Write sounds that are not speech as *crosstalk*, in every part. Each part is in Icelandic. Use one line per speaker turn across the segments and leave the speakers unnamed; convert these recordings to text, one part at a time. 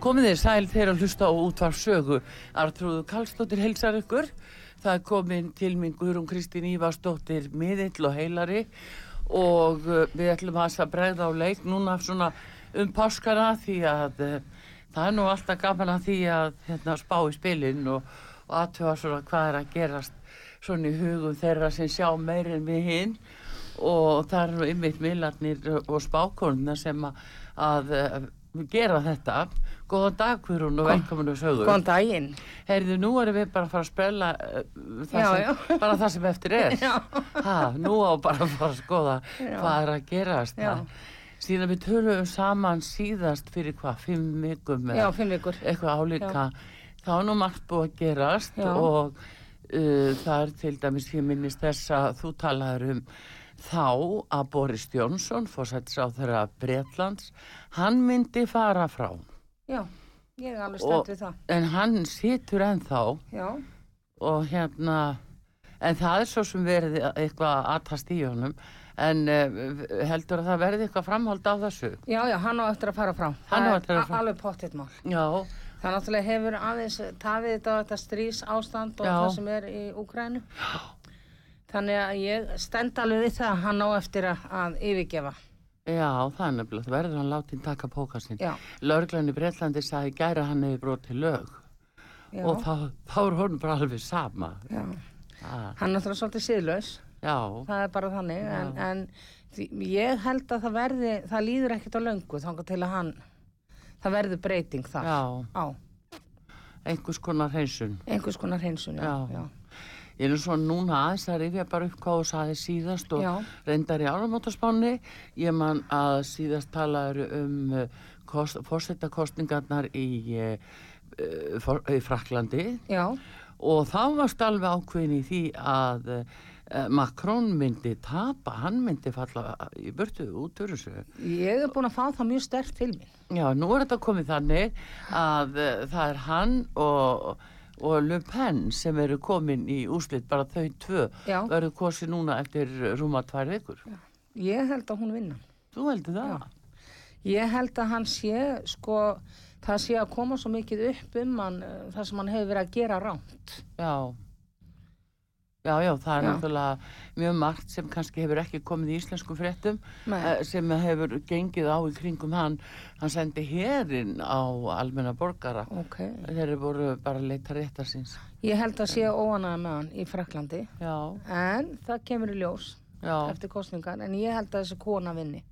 Komið þið sæl þegar að hlusta á útvarsögu. Artrúðu Karlsdóttir heilsar ykkur. Það er komin til minn Guðrún Kristín Ívarsdóttir miðill og heilari og uh, við ætlum að þess að bregða á leik núna svona um páskana því að uh, það er nú alltaf gaman að því að hérna, spá í spilin og, og aðtöfa svona hvað er að gerast svona í hugum þeirra sem sjá meir en við hinn og það er nú ymmit millarnir og spákonuna sem að, að eh, gera þetta. Góðan dag Guðrún og velkominu sögur.
Góðan daginn.
Heyrðu, nú erum við bara að fara að sprella uh, það
Já,
sem, *laughs* bara það sem eftir er.
Já.
Ha, nú á bara að fara að skoða hvað er að gerast.
Já.
Síðan við töluðum saman síðast fyrir hvað, fimm mikum
Já, fimm vikur.
eitthvað álíka. Þá er nú margt búið að gerast
Já.
og uh, það er til dæmis, ég minnist þess að þú talaður um þá að Boris Jónsson, fórsættis á þeirra Bretlands, hann myndi fara frá.
Já, ég er alveg
Og-
stönd við það.
En hann situr ennþá
Já,
og hérna en það er svo sem verið eitthvað aðtast í honum en uh, heldur að það verði eitthvað framhald á þessu
já, já, hann á eftir að fara frá.
Hann á
Það er
eftir að fara frá.
a- Alveg pottitt mál.
já,
Það náttúrulega hefur aðeins tafið þetta á þetta strís ástand og
Já.
það sem er í Úkrænu. Þannig að ég stend alveg við það að hann á eftir að, að yfirgefa.
já, það er nefnilega það verður hann látið taka póka sinn
Já,
lauruglan í Breitlandi sagði í gæra hann hefur brotið lög
já,
og þá, þá er honum bara alveg sama
já.
ah,
Hann er náttúrulega svolítið síðlaus,
já,
það er bara þannig, en, en því- ég held að það verði, það líður ekkert á löngu þangar til að hann, það verður breyting þar
já,
á
einhvers konar hreinsun
einhvers konar hreinsun, já.
Já.
já.
Ég er nú svona núna aðeins að rifja bara upp hvað þú saði síðast og
Já.
reyndar í áramótaspáni. Ég man að síðast talaður um fórsetakostningarnar í, eh, eh, for- í Fraklandi
Já,
og þá varst alveg ákveðin í því að eh, Macron myndi tapa, hann myndi falla í burtu út úr þessu.
ég er búin að fá það mjög sterkt til mín.
Já, nú er þetta komið þannig að eh, það er hann og, og Le Pen sem eru komin í úslit, bara þau tvö
Já.
verður kosið núna eftir rúma tvær vikur.
Ég held að hún vinna.
Þú heldur það?
Ég held að hann sé, sko, það sé að koma svo mikið upp um hann, eh, það sem hann hefur verið að gera rámt.
Já. Já. Já, það er
Já.
náttúrulega mjög margt sem kannski hefur ekki komið í íslensku fréttum
Nei.
eh, sem hefur gengið á í kringum hann. Hann sendi hérinn á almenna borgara.
Ok.
Þeir eru voru bara að leita réttar síns.
Ég held að sé óanað með hann í Fraklandi,
Já,
en það kemur í ljós
já,
eftir kostningar, en ég held að þessi kona vinni.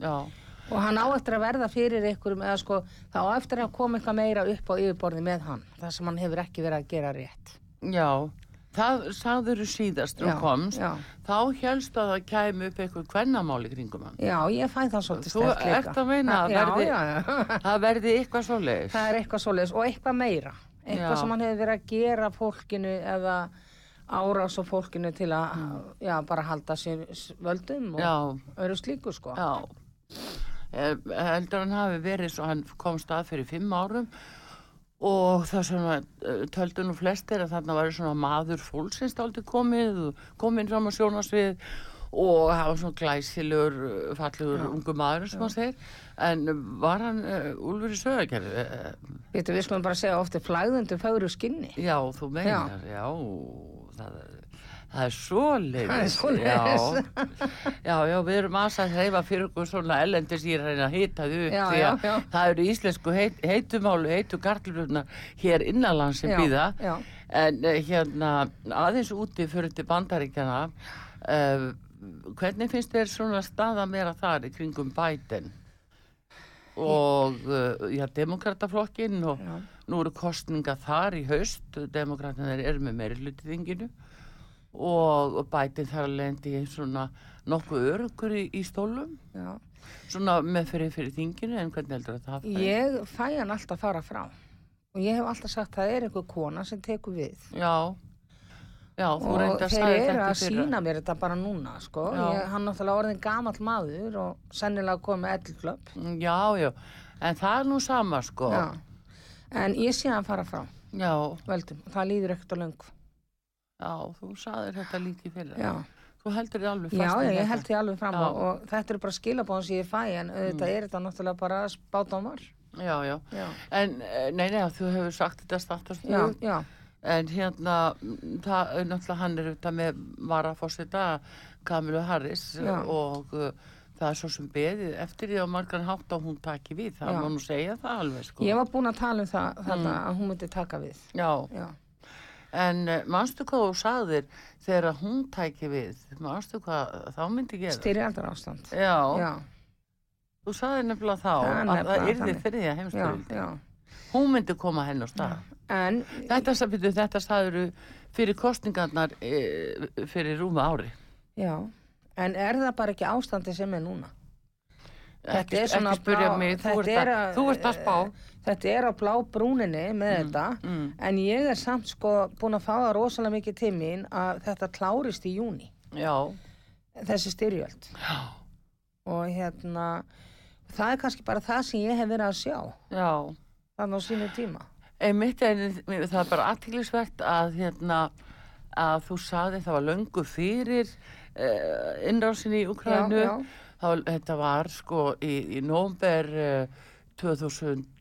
já.
Og hann á eftir að verða fyrir ykkurum, eða sko, það á eftir að koma eitthvað meira upp á yfirborði með hann, það sem hann hefur ekki verið að gera rétt.
Já, það sagður síðast og
Já,
komst,
já.
þá helst að það kæmi upp eitthvað kvennamáli kringum hann.
Já, ég fæ það svolítið
Þú
sterkt líka.
ert að meina að
Já,
verði-
já, *laughs* já.
Það verði eitthvað svo leiðis.
Það er eitthvað svoleiðis og eitthvað meira. Eitthvað
Já.
sem hann hefur verið að gera fólkinu eða árás á fólkinu til að já, bara halda sér s- völdum og
Já,
öru slíku sko.
já. Eh, Heldur hann hafi verið svo hann komst að fyrir fimm árum og það svona eh, töldu nú flestir að þarna væri svona maður fólksins aldrei komið og komin fram á sjónasvið og hann var svona glæsilegur, uh, fallegur ungu maður sem hann segir en var hann uh, Úlfur í sögakerfi? Uh,
Veitu, við skulum bara segja ofti flæðundu fögru skinni.
já, þú meinar, já, það er Það er svoleiðis.
Það er svoleiðis.
Já, já, já, við erum aðeins að hreyfa fyrir okkur svona ellendis ég er að reyna að hita þau upp
Já,
því að
já, já.
það eru íslensku heit, heitumálu, heitu gartluruna hér innanlands sem
Já,
býða.
já.
En eh, hérna, aðeins úti fyrir til bandaríkjana, uh, hvernig finnst þér svona staða meira þar í kringum Biden? og uh, já, demokrataflokkin og
Já.
nú eru kostninga þar í haust demokratinir eru með meiri hluti þinginu og, og bætið þar að lendi svona nokkuð örugur í, í stólum
Já.
svona með fyrir, fyrir þinginu en hvernig heldur að það færi?
Ég fæ hann alltaf fara frá og ég hef alltaf sagt það er einhver kona sem tekur við
Já, já, þú
og
reyndi að
þeir
sagði
eru
þetta
að
fyrir
sína mér þetta bara núna sko.
Já.
ég, hann náttúrulega orðin gamall maður og sennilega komið með eldklöpp
Já, já, en það er nú sama sko
Já. en ég sé hann fara frá
já,
veldum, það líður ekkert á löngu
já, þú sagðir þetta líki fyrir
já,
Þú heldur þið alveg
já
fast í
ég,
þetta.
ég held því alveg fram
Já.
og, og þetta eru bara skilabóðan sem ég fæ en auðvitað er þetta náttúrulega bara spátámar
Já, já,
Mm. já,
en eh, nei, nei, þú hefur sagt þetta startast
já, já,
En hérna, mm, það, er náttúrulega hann er auðvitað með varaforseta Kamilu Harris
Já.
og uh, það er svo sem beðið eftir því að margar hátt að hún taki við. Það
Já.
má nú segja það alveg sko.
ég var búin að tala um það þarna að hún myndi taka við
Já,
já,
en uh, manstu hvað þú sagðir þegar að hún tæki við? Manstu hvað þá myndi gera?
styrjaldar ástand
Já,
já,
þú sagðir nefnilega þá
Það er
að það
nefnilega
yrði
þannig.
fyrir því að
já,
heimsturöldi.
já.
Hún myndi koma henn á stað.
En,
Þetta, sa- bíddu, þetta sagðiru fyrir kostningarnar e, fyrir rúma ári.
já, en er það bara ekki ástandi sem er núna?
ekki, ekki spyrja mig, þú ert, að, þú ert að spá
Þetta er á blá brúninni með þetta,
mm.
en ég er samt sko búin að fá það rosalega mikið tímin að þetta klárist í júni,
já,
þessi styrjöld.
já,
Og hérna, það er kannski bara það sem ég hef verið að sjá,
já
þannig á sínu tíma.
einmitt en það er bara aðtiklisvert að hérna að þú saði það var löngu fyrir uh, innrásinni í Ukraínu
Já, já.
Það var, þetta var sko í, í nómber uh,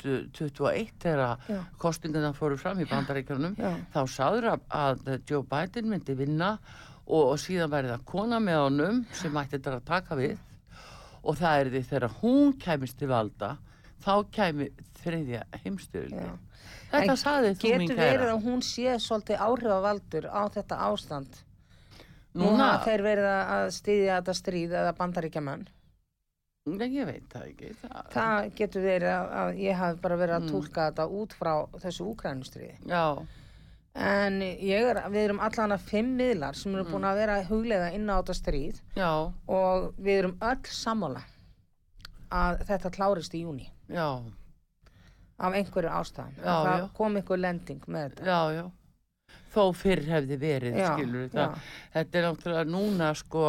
2021
Já.
þegar kostinguna fóru fram í bandaríkjörnum
Já.
þá sáður að, að Joe Biden myndi vinna og, og síðan væri það kona með honum sem mætti þetta að taka við og það er því þegar hún kæmist til valda þá kæmi þriðja heimstyruldi
Já.
þetta
En
saði þú mín
Getur verið
kæra
að hún sé svolítið áhrifavaldur á þetta ástand? Núna, Núna
núna,
þeir verið að stýðja þetta stríð eða bandaríkjaman.
Nei, ég veit það ekki það,
Það getur verið að, að ég hafi bara verið
Mm.
að tólka þetta út frá þessu úkrænustriði.
já,
En ég er, við erum allan að fimm miðlar sem eru búin að vera að huglega inn á þetta stríð
já,
og við erum öll sammála að þetta klárist í júni
já
af einhverju ástæðum.
Já,
Að það
já.
kom einhver lending með þetta.
já, já þó fyrr hefði verið
Já,
skilur
já.
það, þetta er náttúrulega núna sko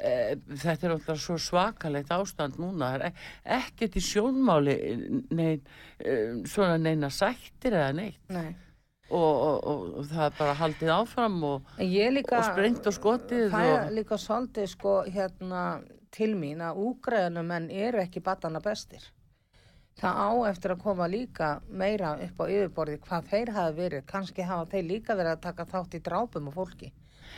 e, þetta er náttúrulega svo svakalegt ástand núna það er e- ekkert í sjónmáli nein, e, svona neina sættir eða neitt
Nei.
og, og, og, og það er bara haldið áfram og,
En ég líka...
og sprengt og skotið
Það er
og,
líka svolítið sko hérna til mín að úgræðunumenn eru ekki batana bestir. Það á eftir að koma líka meira upp á yfirborði hvað þeir hafa verið. Kannski hafa þeir líka verið að taka þátt í drápum á fólki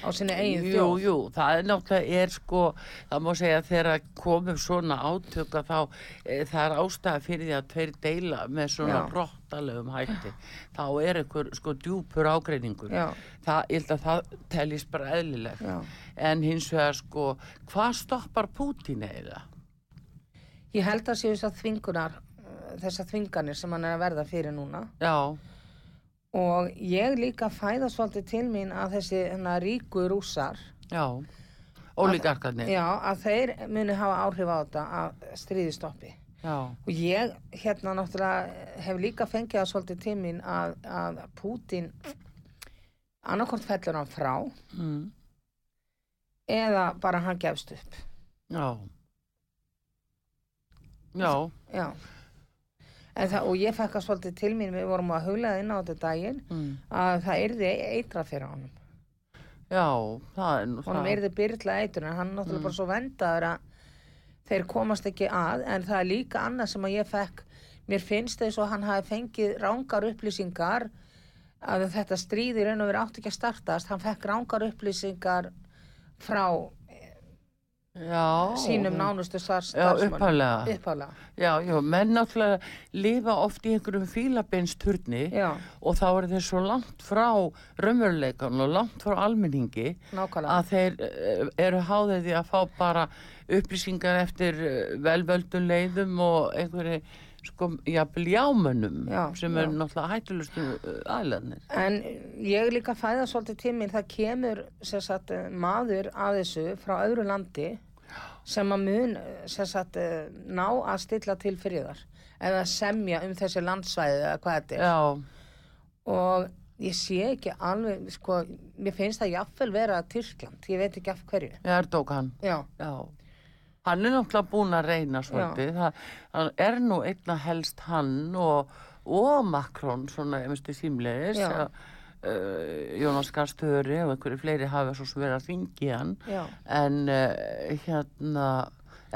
á sinni eigin
Jú,
þjóð.
jú, það er náttúrulega er sko, það má segja að þegar komum svona átöka þá e, það er ástæða fyrir því að tveir deila með svona
Já.
brottalegum hætti. Þá er einhver sko djúpur ágreiningur.
Já.
Það, ég held að það teljist bara eðlilegt.
Já.
En hins vegar sko, hvað stoppar Pútín eða?
Ég held að séu þessar þvingunar, eh, þessar þvinganir sem hann er að verða fyrir núna.
Já,
Og ég líka fæða svolítið til mín að þessi hérna, ríku rússar
já, ólíkarkarnir.
Já, að þeir muni hafa áhrif á þetta að stríði stoppi.
Já,
Og ég hérna náttúrulega hef líka fengið að svolítið tímin að, að Pútin annarkort fellur hann frá
mm,
eða bara hann gefst upp.
já. Já,
Já. En Það, og ég fekk að svolítið til mín, við vorum að huglega inn á þetta daginn,
mm,
að það yrði eitra fyrir honum.
já, það er nú
honum
það. Mm.
yrði byrla eitur en hann er náttúrulega bara svo vendaður að þeir komast ekki að en það er líka annað sem að ég fekk mér finnst þess að hann hafi fengið rángar upplýsingar að þetta stríði raun og verið átt ekki að startast hann fekk rángar upplýsingar frá
já,
sínum nánustu star-
Já,
starfsmönnum
upphaflega.
Upphaflega,
Já, já, menn náttúrulega lifa oft í einhverjum fílabinsturni
Já.
og þá eru þeir svo langt frá raunveruleikan og langt frá almenningi
nákvæmlega
að þeir eh, eru háðið því að fá bara upplýsingar eftir eh, velvöldum leiðum og einhverju sko, jafnvel jámönnum
Já,
sem
já.
eru náttúrulega hættulegustu eh, aðlanir.
En ég er líka að fæða svolítið tíminn, það kemur sem sagt, maður að þessu frá öðru landi sem að mun sem sagt, ná að stilla til friðar eða semja um þessi landsvæði eða hvað þetta er.
Já,
Og ég sé ekki alveg, sko, mér finnst það jafnvel vera Tyrkland, ég veit ekki af hverju.
ég er tók hann.
Já,
Já. Hann er náttúrulega búinn að reyna svolítið. Það, hann er nú einna helst hann og, og Macron svona einmitt í símleiðis.
Já.
að, Uh, Jónas Garstöri og einhverju fleiri hafa svo sem verið að þingi hann.
já,
En uh, hérna,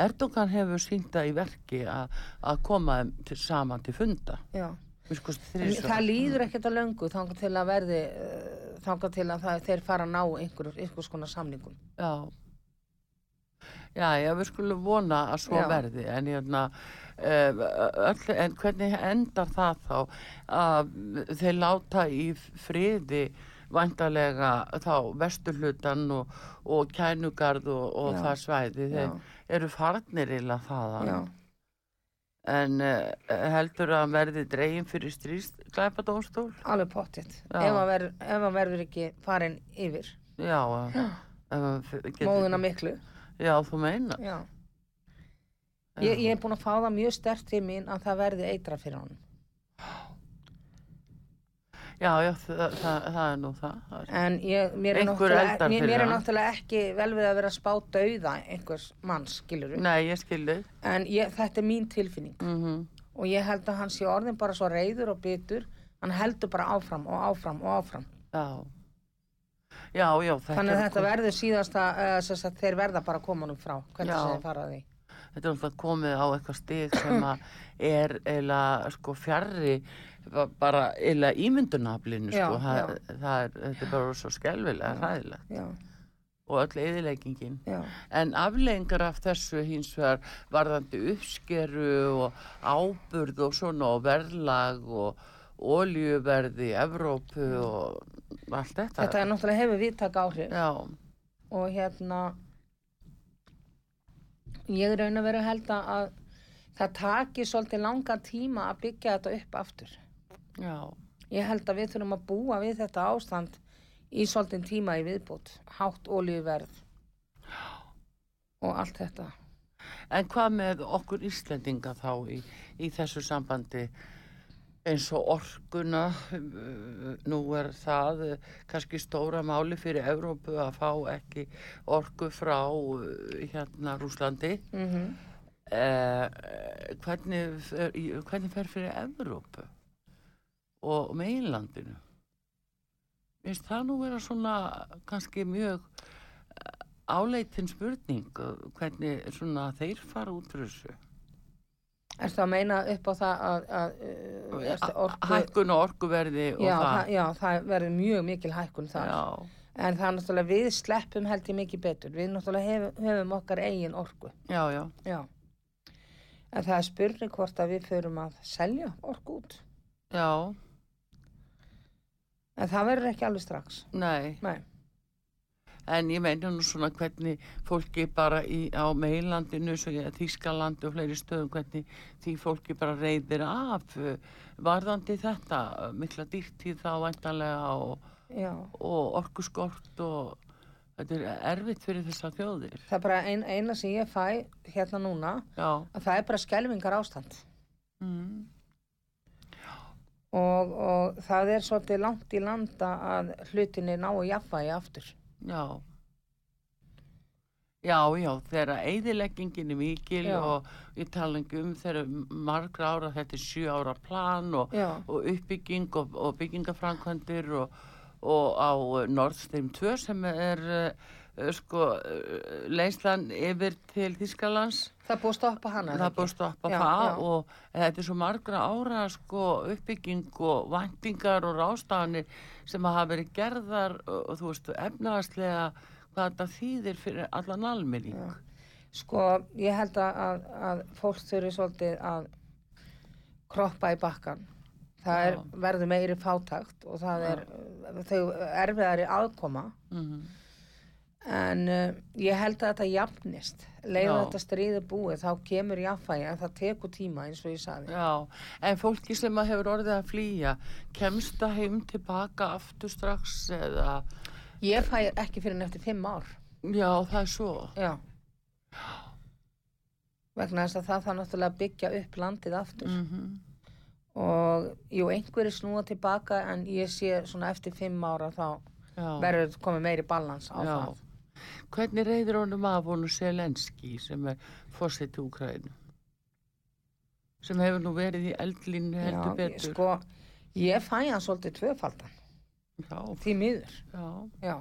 Erdogan hefur sínda í verki a, að koma þeim til, saman til funda.
já.
Við sko
En
þrísvar.
Það líður ekkert að löngu þangar til að verði, uh, þangar til að það, þeir fara að ná einhverjum, einhvers konar samningum.
Já. Já, já, við skulum vona að svo
Já.
verði, en hérna, eh, öll, en hvernig endar það þá að þeir láta í friði vandarlega þá vesturhlutan og, og kænugarð og, og
Já.
það svæði, þeir
Já.
eru farnir illa þaðan,
Já.
en uh, heldur að hann verði dregin fyrir stríðsklæpadómstól?
Alveg pottitt.
Já.
Ef hann ver, ef hann verður ekki farin yfir.
Já, eh, já. Getur,
Móðuna miklu.
Já, þú meina.
Já. Ég, ég er búin að fá það mjög stert til mín að það verði eitra fyrir hann.
Já, já, það, það, það er nú það. það er-
En ég, mér, er
Einhver
náttúrulega,
eldar
mér,
fyrir
mér er
hann.
náttúrulega ekki vel við að vera að spá dauða einhvers manns, skilur við.
Nei, ég skildi.
En ég, þetta er mín tilfinning.
Mm
Og ég held að hann sé orðin bara svo reyður og bitur. Hann heldur bara áfram og áfram og áfram.
Já. Já, já, þetta,
Þannig að
er
þetta
kom-
verður síðasta, uh, sem sagt, þeir verða bara að koma honum frá. Hvernig
Já.
sem þeir fara að því.
þetta er alltaf komið á eitthvað stig sem að er eila sko fjarrri ba- bara eila ímyndunaflinu
Já,
sko. það,
já.
það er, þetta er bara svo skelvilega, hræðilega
Já,
og öll eðileggingin.
já,
En aflengar af þessu hins vegar varðandi uppskeru og áburð og svona og verðlag og oljuverði, Evrópu og allt þetta.
Þetta er náttúrulega hefur viðtak áhrif.
Já,
og hérna ég raun að vera að held að það taki svolítið langan tíma að byggja þetta upp aftur.
já,
Ég held að við þurfum að búa við þetta ástand í svolítið tíma í viðbútt, hátt olíuverð og allt þetta.
en hvað með okkur Íslendinga þá í, í þessu sambandi eins og orkuna, uh, nú er það uh, kannski stóra máli fyrir Evrópu að fá ekki orku frá uh, hérna Rúslandi.
Mm
Mhm. Eh, hvernig, fer, í- hvernig fer fyrir Evrópu og meginlandinu Mér finnst það nú vera svona kannski mjög eh, áleitin spurning eh, hvernig svona þeir fara út fyrir þessu
Erstu að meina upp á það að, að, að ertu orku...
hækkun og orkuverði og
Já
það
það, já, það verður mjög mikil hækkun þar.
já,
En það er náttúrulega, við sleppum held ég mikið betur. Við náttúrulega hef, höfum okkar eigin orku.
já, já,
Já. En það er spurning hvort að við förum að selja orku út.
já,
En það verður ekki alveg strax.
nei
Nei.
en ég meina nú svona hvernig fólki bara í, á meilandinu Þískalandi og fleiri stöðum hvernig því fólki bara reyðir af uh, varðandi þetta uh, mikla dýrtíð þá væntanlega og,
Já.
og orkuskort og þetta er erfitt fyrir þessar þjóðir
Það er bara ein, eina sem ég fæ hérna núna
já,
að það er bara skelvingar ástand.
mm.
Og, og það er svolítið langt í landa að hlutinni ná að jafnvægi aftur.
já já, já, þegar eðileggingin er mikil
Já.
og ég tala ekki um þegar margra ára þetta er sjö ára plan og
Já.
og uppbygging og, og byggingafrankvendir og, og á eh, Nord Stream 2 sem er eh, sko eh, leiðslan yfir til Þískalands
Það er búið að stoppa hana. er
það
ekki?
búið að stoppa
Já,
það
já.
og eh, þetta er svo margra ára sko uppbygging og vendingar og rástafanir sem hafa verið gerðar og, og þú veist efnaðarslega hvað þetta þýðir fyrir allan almenning
Já. Sko, ég held að, að, að fólk þurfi svolítið að kroppa í bakkan. Það er,
Já.
verður meiri fátækt og það er, þau erfiðari aðkoma.
Mhm.
En uh, ég held að þetta jafnist. Leiða
Já.
þetta stríði búið, þá kemur jafnfægi en það tekur tíma eins og ég saði.
Já, en fólki sem að hefur orðið að flýja, kemst það heim tilbaka aftur strax eða,
Ég fæ ekki fyrir en eftir fimm ár.
já það er svo.
Já. Vegna þess að það þarf náttúrulega að byggja upp landið aftur.
Mm
Og jú, einhverju snúa tilbaka en ég sé svona eftir fimm ára þá
já,
verður komið meiri balans á
já.
það.
Hvernig reyðir honum af honum Selenski sem er fórseti Úkræðinu? Sem hefur nú verið í eldlínu heldur
Já,
betur.
Sko, ég fæ hann svolítið tvöfaldan,
Já,
því miður.
já,
Já.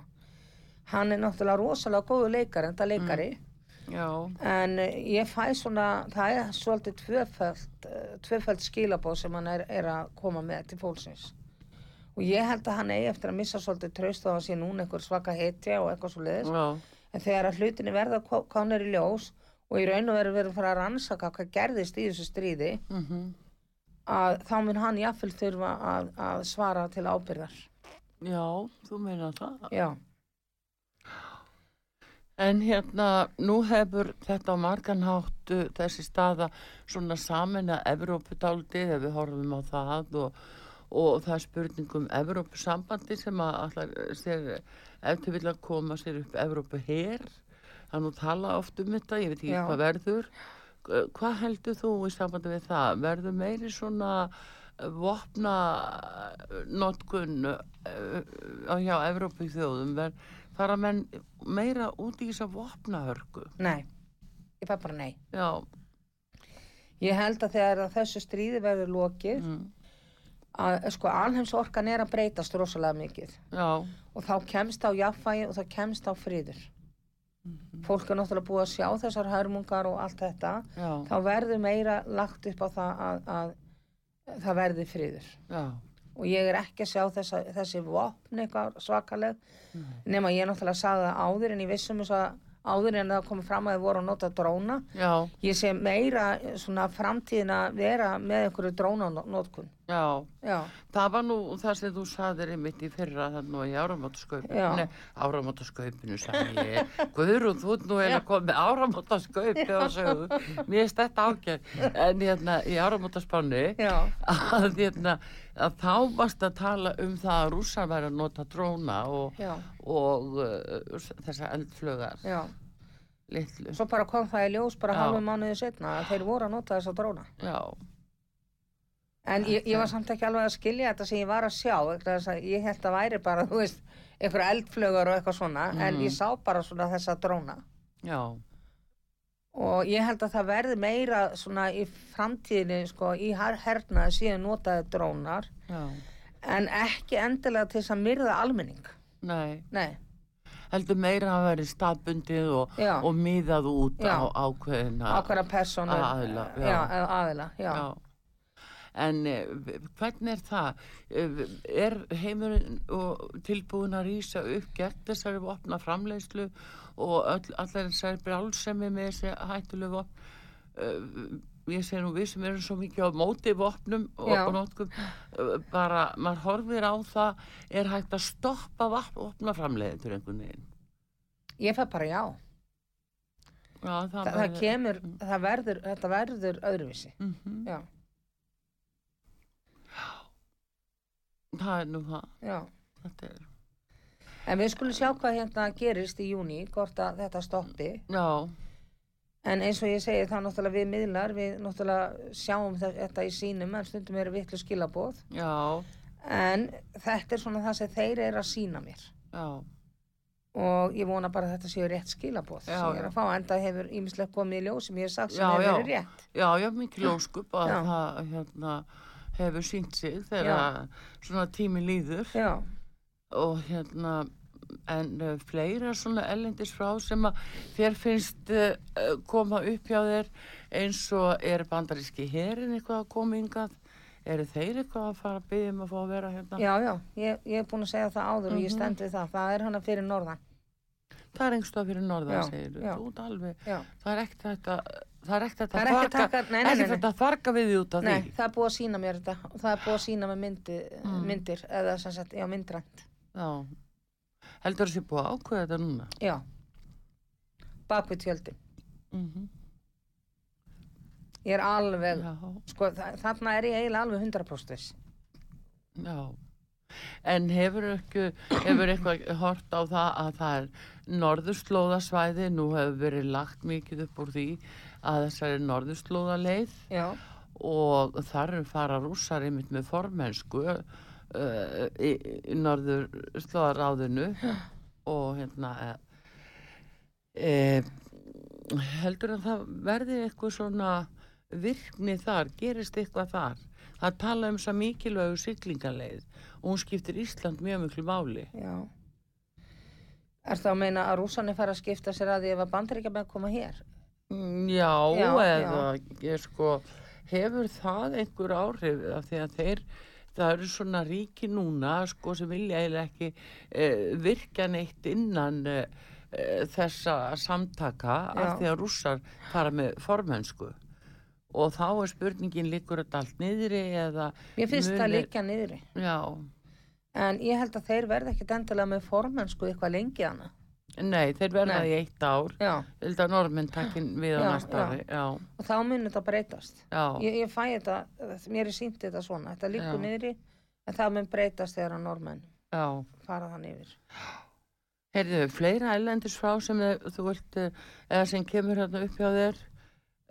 Hann er náttúrulega rosalega góðu leikari, enda leikari.
Mm. já,
En eh, ég fæ svona, það er svolítið tvöfælt, tvöfælt skilabóð sem hann er, er að koma með til fólksins. Og ég held að hann eigi eftir að missa svolítið traust á að sé núna einhver svaka hetja og eitthvað svo leiðis.
já,
En þegar að hlutinni verða kánir í ljós og í raun og veru verður fara að rannsaka hvað gerðist í þessu stríði,
mhm,
að þá mun hann jafnvel þurfa að, að svara til ábyrðar.
já, þú meina það.
Já,
En hérna, nú hefur þetta á margan háttu þessi staða svona samin að Evrópudaldið ef við horfum á það og, og það er spurning um Evrópusambandi sem að allar sér ef þau vilja koma sér upp Evrópu her það er nú tala oft um þetta, ég veit ekki
Já.
hvað verður Hva- hvað heldur þú í sambandi við það? Verður meiri svona eh, vopna eh, notkun uh, hjá Evrópu þjóðum verður fara menn meira út í þess að vopna hörku.
nei, ég fæ bara nei.
Já,
Ég held að þegar að þessu stríði verður lokið,
mm,
að sko alheimsorkan er að breytast rosalega mikið
já,
og þá kemst á jafnvægi og þá kemst á friður fólk er náttúrulega búið að sjá þessar hörmungar og allt þetta
já,
þá verður meira lagt upp á það að, að það verði friður
já,
og ég er ekki að sjá þessa, þessi vopn eitthvað svakaleg nema ég náttúrulega sagði það áður en ég vissum þess að áður en það komið fram að þið voru að nota dróna
já,
ég sé meira eh, svona framtíðin að vera með einhverju drónanótkun
já.
já,
Það var nú það sem þú saðir einmitt í fyrra þannig að í áramótaskaupinu,
Já.
nei, áramótaskaupinu sagði ég, Guðrún, þú ert nú eða komið áramótaskaupinu og sögðu, mér er stætt ágæð, en hérna í áramótaspannu,
já,
að, hérna, að þá varst að tala um það að rússar væri að nota dróna og,
já,
og uh, þessa eldflögar,
já.
litlu.
Svo bara kom það í ljós bara
Já.
halvu mánuði setna að þeir voru að nota þessa dróna.
Já,
En ég, ég var samt ekki alveg að skilja þetta sem ég var að sjá. vegna þess að Ég held að væri bara, þú veist, einhverja eldflögur og eitthvað svona. En ég sá bara svona þessa dróna.
já,
Og ég held að það verði meira svona í framtíðinni, sko, í her- hernaði síðan notaði drónar.
já,
En ekki endilega til þess að myrða almenning.
nei,
Nei,
heldur meira að vera staðbundið og,
Já.
og miðað út
Já.
á ákveðina.
ákveðra persónu.
aðila, já.
Eh, Já, eða aðila, já.
Já. En eh, v- hvernig er það? Eh, Er heimurinn og tilbúin að rýsa upp gegn þessari vopna framleiðslu og öll, allar þessari brálsemi með þessi hættulegu vopn? Eh, Ég sé nú við sem erum svo mikið á móti vopnum og,
Já.
og notkum, eh, bara maður horfir á það, er hægt að stoppa vopna framleiðendur einhvern veginn?
Ég fæ bara já.
Já,
Þa, það kemur, það verður, þetta verður öðruvísi.
Mm
Já,
Það er nú það,
já.
þetta er,
En við skulum sjá hvað hérna gerist í júni, hvort að þetta stoppi.
já,
En eins og ég segi þá náttúrulega við miðlar, við náttúrulega sjáum þe- þetta í sínum, en stundum eru vitlu skilabóð.
já,
En þetta er svona það sem þeir eru að sína mér.
já,
Og ég vona bara að þetta séu rétt skilabóð
Já,
sem ég er
já.
að fá, en það hefur ímislegt komið í ljós sem ég hef sagt sem
Já,
hefur
já.
verið rétt.
já, já, mikil óskup að
Já.
það, hérna, hefur sínt sig þegar svona tími líður
Já,
og hérna en uh, fleira svona ellendis frá sem að þér finnst uh, uh, koma upp hjá þér eins og er bandaríski herin eitthvað að koma yngað eru þeir eitthvað að fara að byggja um að fá að vera hérna
Já, já, ég, ég er búin að segja það áður og ég stend við það, það er hana fyrir norðan.
það er einhverstað fyrir norða
Já,
segir
já.
þú út alveg
Já.
það er ekkert þetta það er ekkert
Það
þetta
er ekki að
farga
taka- nei, nei, nei,
ekki
nei.
þetta farga við því út af
Nei,
því
það er búið að sína mér þetta, og það er búið að sína mér myndi, myndir, eða sem sagt, já, myndrænt.
Já. heldur þessi búið að ákveða þetta núna
Já, bak við tjöldin.
mm
Ég er alveg,
já
sko, þa- þarna er ég eiginlega alveg 100% viss.
Já, en hefur, ekki, hefur eitthvað hort á það að það er norðurslóðasvæði, nú hefur verið lagt mikið upp úr því að þessari norðurslóðaleið
Já,
og þar eru fara rússar einmitt með formensku uh, í, í norðurslóðaráðinu og hérna e, e, heldur að það verði eitthvað svona virkni þar, gerist eitthvað þar það tala um þess að mikilvægu siglingaleið og hún skiptir Ísland mjög miklu máli
já. Er það að meina að rússanir fara að skipta sér að því ef að bandaríkja með koma hér?
Mm, Já,
Já,
eða ég sko, hefur það einhver áhrif af því að þeir, það eru svona ríki núna sko sem vilja eiginlega ekki e, virka neitt innan e, e, þessa samtaka
Já.
af því að rússar fara með formensku og þá er spurningin líkur þetta allt niðri eða
Mér finnst
mun
það
er-
líka niðri.
Já,
En ég held að þeir verða ekkit endilega með formennsku eitthvað lengi hana.
nei, þeir verða
Nei.
í eitt ár,
Já,
Ég held að normenn takkin við á
Já,
næsta
já.
ári, já,
og þá mun þetta breytast.
já,
Ég, ég fæ þetta, mér er sínt þetta svona, þetta líkur
Já.
niðri, en það mun breytast þegar að normenn
já.
fara þann yfir.
Heyrðu, fleira ælendis frá sem þau- þú vilt, eh, eða sem kemur hérna upp hjá þér,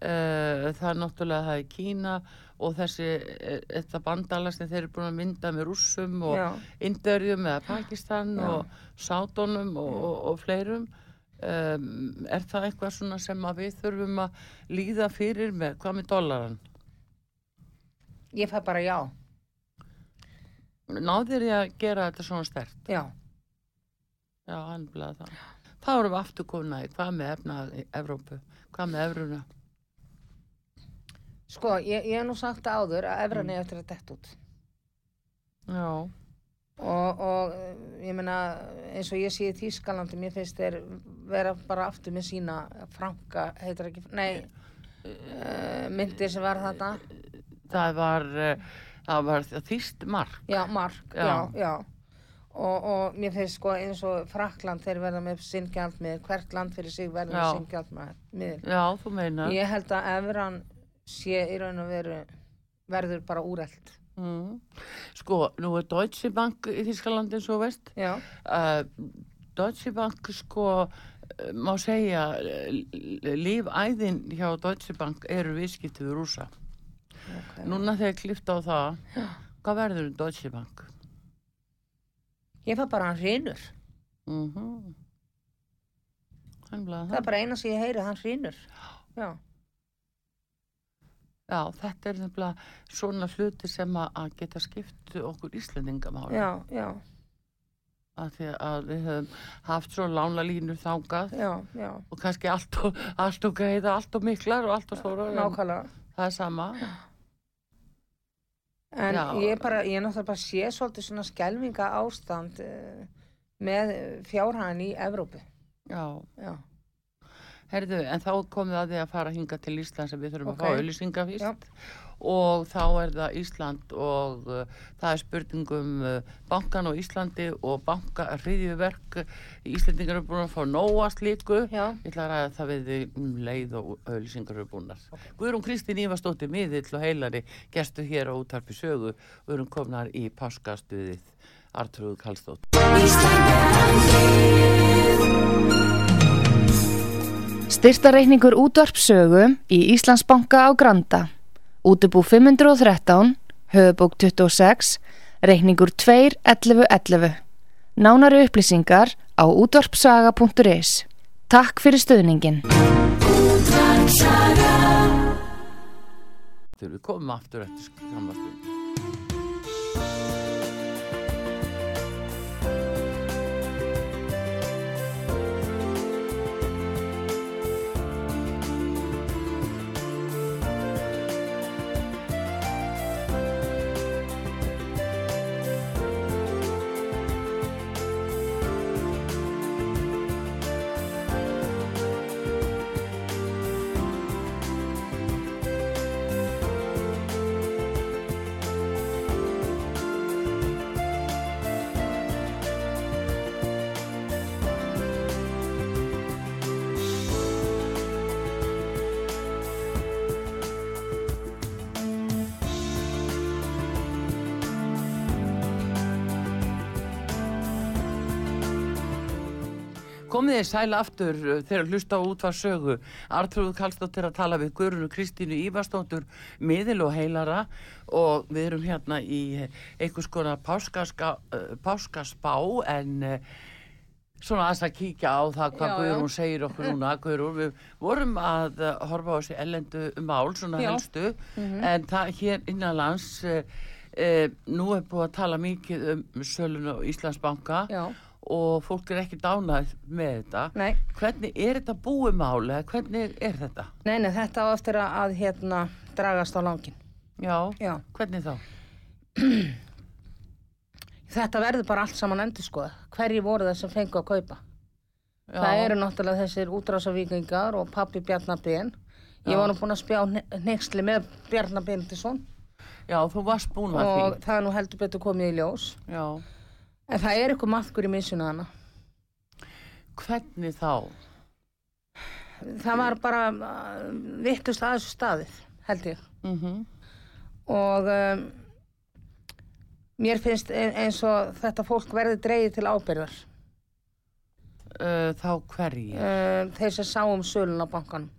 uh, það er náttúrulega það er Kína og þessi, eh, þetta bandala sem þeir eru búin að mynda með rússum og
Já,
Indörjum eða Pakistan
Já.
og Sátonum og, og, og fleirum. Um, er það eitthvað svona sem að við þurfum að líða fyrir með, hvað með dollaran?
ég fæ bara já,
Náður ég að gera þetta svona stert?
já,
Já, hann bleið það. Þá erum við aftur komin í, hvað með efna Evrópu, hvað með Evruna?
sko, ég, ég hef nú sagt það áður að
Mm.
efran er eftir að dett út.
Já.
Og, og eh, ég meina, eins og ég sé í Þýskalandi, mér finnst þeir vera bara aftur með sína franka, heitir ekki, nei,
Eh,
uh, myndir sem var þetta.
það var eh, það var þýst mark
Já, mark, já,
Já.
já. Og, og mér finnst sko eins og Frakland þeir verða með sinn gjaldmiðil, hvert land fyrir sig verða með
Já.
sinn gjaldmiðil.
já, þú meinar
Ég held að evran sé í raun og veru verður bara úrælt.
mm. sko, nú er Deutsche Bank í Þýskalandi eins og þú veist
Já,
uh, Deutsche Bank sko eh, má segja eh, l- lífæðin hjá Deutsche Bank eru viðskipti við rúsa
ok.
núna þegar klifta á það hvað verður um Deutsche Bank
Ég fæ bara hann hrýnur.
mm -hmm. hann bleið
Það
það
er bara eina sem ég heyri, hann hrýnur. Já,
já, þetta er nefnilega svona hluti sem að- að geta skipt okkur Íslendingamáli
já, já,
að því að við höfum haft svo lána línur þangað
já, já.
og kannski allt og, allt og greiða, allt og miklar og allt og stóra
Nákvæmlega.
það er sama
En
Já.
ég bara, ég náttúrulega bara sé svolítið svona skelvinga ástand uh, með fjárhæðan í Evrópu.
já,
Já,
herðu, en þá komið að því að fara hinga til Ísland sem við þurfum
Ok.
að fá auðlýsinga fyrst
já,
og þá er það Ísland og uh, það er spurningum uh, bankan og Íslandi og banka hriðjuverk Íslandingar eru búin að fá nóa slíku
já.
Ég ætla að ræða það við þig um leið og auðlýsingar eru búnar. Guðrún Kristín Ívarsdóttir miðill og heilari gestu hér á útarpi sögu og erum komnar í páskastuðið Artrúðu Kallstótt.
Styrtareikningur útvarpsögu í Íslandsbanka á Granda. Útibú 513, höfubók 26, reikningur 2.11.11. Nánari upplýsingar á útvarpsaga.is. Takk fyrir stöðningin.
Þegar við komum aftur eftir skamma stund. Komið þið sæl aftur uh, þegar hlusta á útvarsögu. Artrúðu Kallstóttir að tala við Guðrunu Kristínu Ívarstóttur, miðil og heilara og við erum hérna í einhvers konar páskaska, uh, páskaspá en uh, svona aðeins að kíkja á það hvað
Já, já.
Guðrún segir okkur núna.
*laughs*
Guðrún, við vorum að uh, horfa á þessi ellendu mál, svona
Já. Mhm.
helstu, en það hér innanlands... Uh, Uh, nú er búið að tala mikið um sölun á Íslandsbanka
Já.
og fólk er ekki dánað með þetta
Nei.
hvernig er þetta búið mál eða hvernig er þetta?
Nei, nei, þetta á eftir að, að hérna dragast á langin.
Já,
Já.
hvernig þá?
Þetta verður bara allt saman endur skoða. Hverji voru það sem fengu að kaupa?
Já,
Það eru náttúrulega þessir útrásavíkingar og pappi Bjarnabén. Ég
Já.
var nú búin að spjá neyksli með Bjarnabén til svon
já þú varst búin að
og
því
það er nú heldur betur komið í ljós.
já.
En það er eitthvað maðkur í misjunu hana.
hvernig þá?
Það var bara vittust að þessu staðið, held ég.
Mm -hmm.
Mhm. Og um, mér finnst ein- eins og þetta fólk verði dreigið til ábyrðar.
Uh, þá hverji?
Um, þeir sem sáum sölun á bankanum.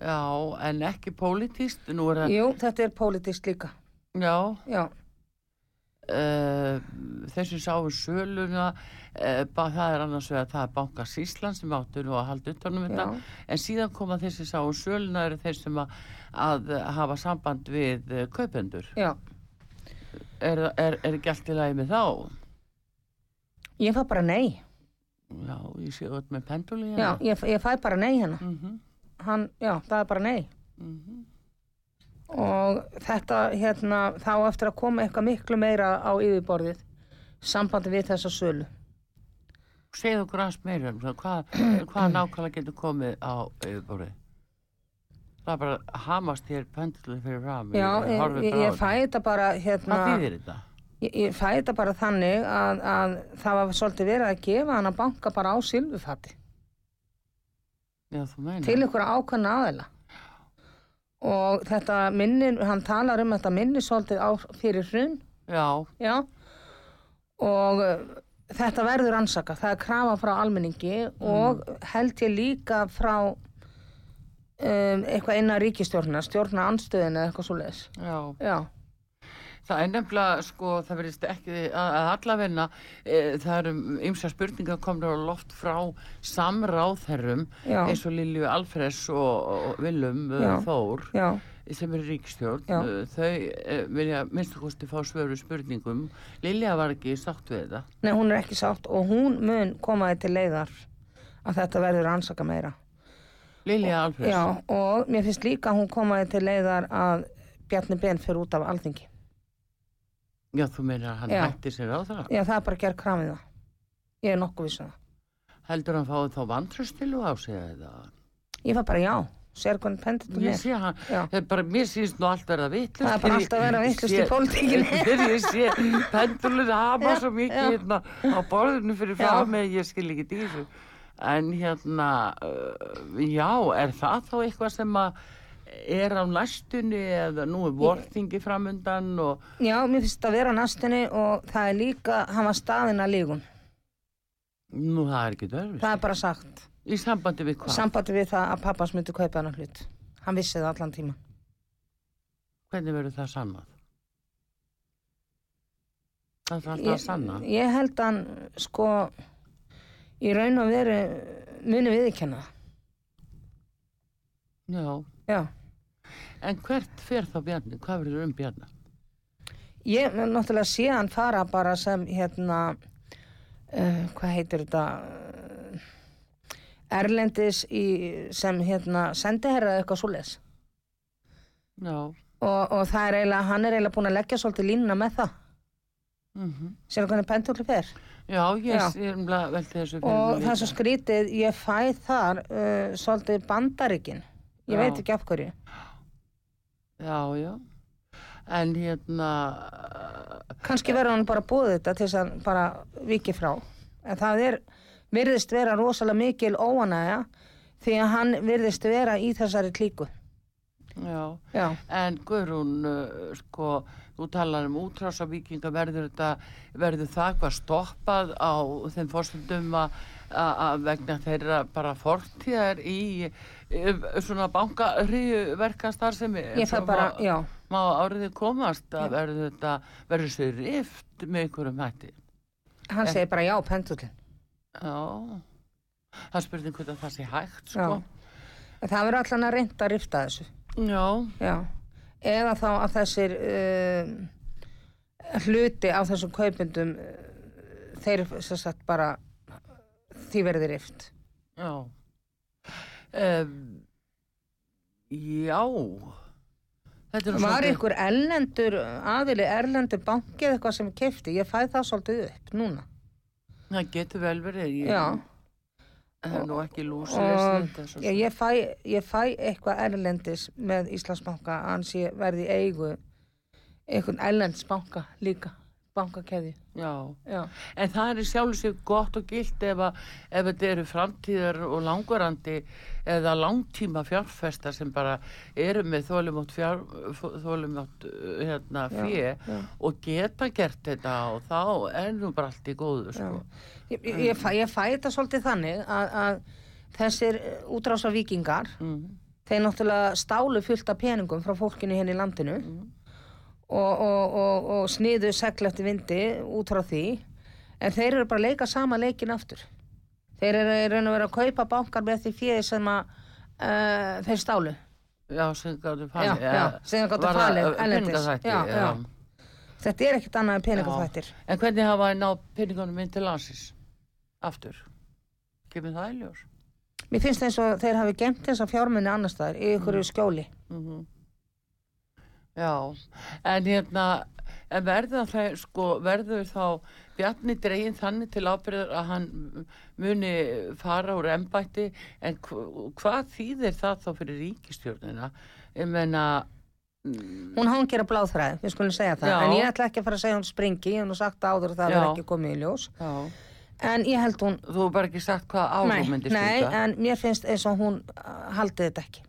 Já, en ekki pólitíst nú er það,
Jú, þetta er pólitískt líka.
já
Já,
uh, þessi sáum söluna uh, það er annars vegar það er Bankas Ísland sem áttu nú að halda utanum þetta
Já.
en síðan koma þessi sáum söluna eru þeir sem að, að hafa samband við uh, kaupendur
já.
er, er, er ekki allt í lagi með þá?
Ég fæ bara nei.
Já, ég sé öll með penduli
Já, ég, f- ég fæ bara nei hérna.
mm -hmm,
Hann, já, það er bara nei.
mm
Og þetta, hérna, þá á eftir að koma eitthvað miklu meira á yfirborðið. Sambandi við þessa sölu.
Segðu okkur aðeins meira um það, hvað,
*clears throat*
hvað nákvæmlega getur komið á yfirborðið? Það er bara að hamast hér penduli fyrir fram
Já, ég,
horfi
ég,
bara á
ég
þetta.
fæ þetta bara, hérna...
Hvað þýðir þetta?
Ég, ég fæ þetta bara þannig að, að það var svolítið verið að gefa hann að banka bara á silfufatti
Já, þú meina
til ykkur ákveðna aðeila. Og þetta minnir, hann talar um þetta minnir svolítið á, fyrir hrun,
Já,
já, og uh, þetta verður ansaka, það er krafa frá almenningi og held ég líka frá um, eitthvað innan ríkistjórna, stjórna anstöðin eða eitthvað svo leiðis.
já
Já,
Það er nefnilega, sko, það verðist ekki að, að allavegna, e, það eru ymsa spurningar komnur á loft frá samráðherrum
Já.
eins og Lilju Alfres og, og Willum Já.
Já.
Þór
já,
sem eru ríkstjórn,
Já.
eh, þau eh, vilja minnstu kosti fá svöru spurningum. Lilja var ekki sátt við þetta.
Nei, hún er ekki sátt og hún mun koma þið til leiðar að þetta verður að ansaka meira.
Lilja Alfres.
Já, og mér finnst líka að hún koma þið til leiðar að Bjarni Ben fyrir út af alþingi.
Já, þú meinar að hann
Já.
hætti sér á það.
Já, það er bara að gera kramið það. Ég er nokkuð vissan það.
Heldur hann fáið þá vantröstilu á sig eða?
Ég var bara já, sér hvernig pendið þú
Ég
mér.
sé hann,
Já.
það er bara, mér síðist nú allt verða vittlust.
Það er bara allt að vera vitlaust í pólitíkinni.
*laughs* Þegar ég sé pendulur hama svo mikið hérna á borðinu fyrir
Já.
frá mig, ég skil ekki dísu. En hérna, uh, já, er það þá eitthvað sem að er á næstunni eða nú er vortingi framundan og
Já, mér finnst það að vera á næstinni og það er líka, hann var staðinn að lígun.
nú það er ekki dörfist.
Það er bara sagt.
Í sambandi við hvað?
Sambandi við það að pappans myndi kaupa hann hlut. Hann vissi það allan tíma.
Hvernig verður það sannað? Það er alltaf að sanna.
Ég held að hann, sko, í raun og veru muni viðkenna það.
Já.
Já.
En hvert fer þá Bjarni? Hvað verður um Bjarni?
Ég mun náttúrulega sé hann fara bara sem hérna, uh, hvað heitir þetta, uh, Erlendis í, sem hérna sendiherra eða eitthvað svoleiðis.
Já.
Og, og það er eiginlega, hann er eiginlega búin að leggja svolítið línuna með það.
Mm
Sér hvernig pendurli fer.
Já, ég
Mhm. Já.
sé umlega veldi þessu fyrir
Og
mér
það er
líka.
svo skrítið, ég fæ þar uh, svolítið bandaríkin. Ég
Já.
veit ekki af hverju.
Já, já. En hérna,
Kanski verður hann bara búið þetta til þess að hann bara viki frá. En það er, virðist vera rosalega mikil óanæja því að hann virðist vera í þessari klíku.
uh, já.
Já,
En Guðrún, uh, sko, þú talar um útrásavíkinga, verður þetta, verður það hvað stoppað á þeim fórstundum að að vegna þeirra bara fortíðar í uh, svona bankariðu verkastarfsemi
ég
eins
það
og
bara,
má-
já,
má áriði komast að verður þetta, verður þessu rift með einhverjum hætti
hann
Eh.
segir bara já, pendullin.
Já, það er spurning hvernig það sé hægt sko.
Já. En Það verður allan að reynda að rifta þessu.
Já,
Já. Eða þá að þessir um, hluti á þessum kaupendum, uh, þeir sem sagt bara, því verður rift.
já um, Já Þetta er nú
Var
svolítið-
ykkur erlendur, aðili erlendur banki eða eitthvað sem kefti? Ég fæði það svolítið upp núna.
Það getur vel verið, ég
Já.
hef nú ekki lúsi
Og-
þetta svo
Já,
sem.
ég fæ, ég fæ eitthvað erlendis með Íslandsbanka að hans ég verði í eigu einhvern erlends banka líka, bankakeði.
Já,
Já,
en það er í sjálfu sig gott og gilt ef, að, ef þetta eru framtíðar og langvarandi eða langtíma fjárfesta sem bara eru með þólumátt fjár, þólumátt hérna
Já,
fjö
já.
og geta gert þetta og þá er nú bara allt í góðu sko.
Ég, ég, ég, fæ, ég fæ þetta svolítið þannig að, að þessir eh, útrása vikingar,
Mhm.
þeir náttúrulega stálu fullt af peningum frá fólkinu henni í landinu
Mm.
og, og, og, og sniðu segl eftir vindi út frá því, en þeir eru bara að leika sama leikin aftur. Þeir eru í raun og verið að kaupa bankar með því fjöði sem að uh, þeir stálu.
Já, sem gáttu falið.
Já, já, sem gátu
Var það,
falið,
uh,
erlendis.
peningaþætti,
Já, já. Þetta er ekkert annað en peningaþvættir.
En hvernig hafa það náð peningunum inn til landsins? Aftur. Kemur það eiljós?
Mér finnst eins og þeir hafi gemt þessa fjármunni annar staðar í ykkur skjóli.
Mm Já, en hérna, en verður það, sko, verður þá Bjarni dreginn þannig til ábyrðar að hann muni fara úr embætti, en hv- hvað þýðir það þá fyrir ríkistjórnina? Ég mm, menna,
Hún hangir að bláþræði, við skulum segja það.
Já.
En ég ætla ekki að fara að segja hún springi, ég hef nú sagt áður að það
Já.
verður ekki komið í ljós.
já,
En ég held hún,
þú hefur bara ekki sagt hvað
nei,
árum myndi
nei,
stunda.
en mér finnst eins og hún uh, haldið þetta ekki.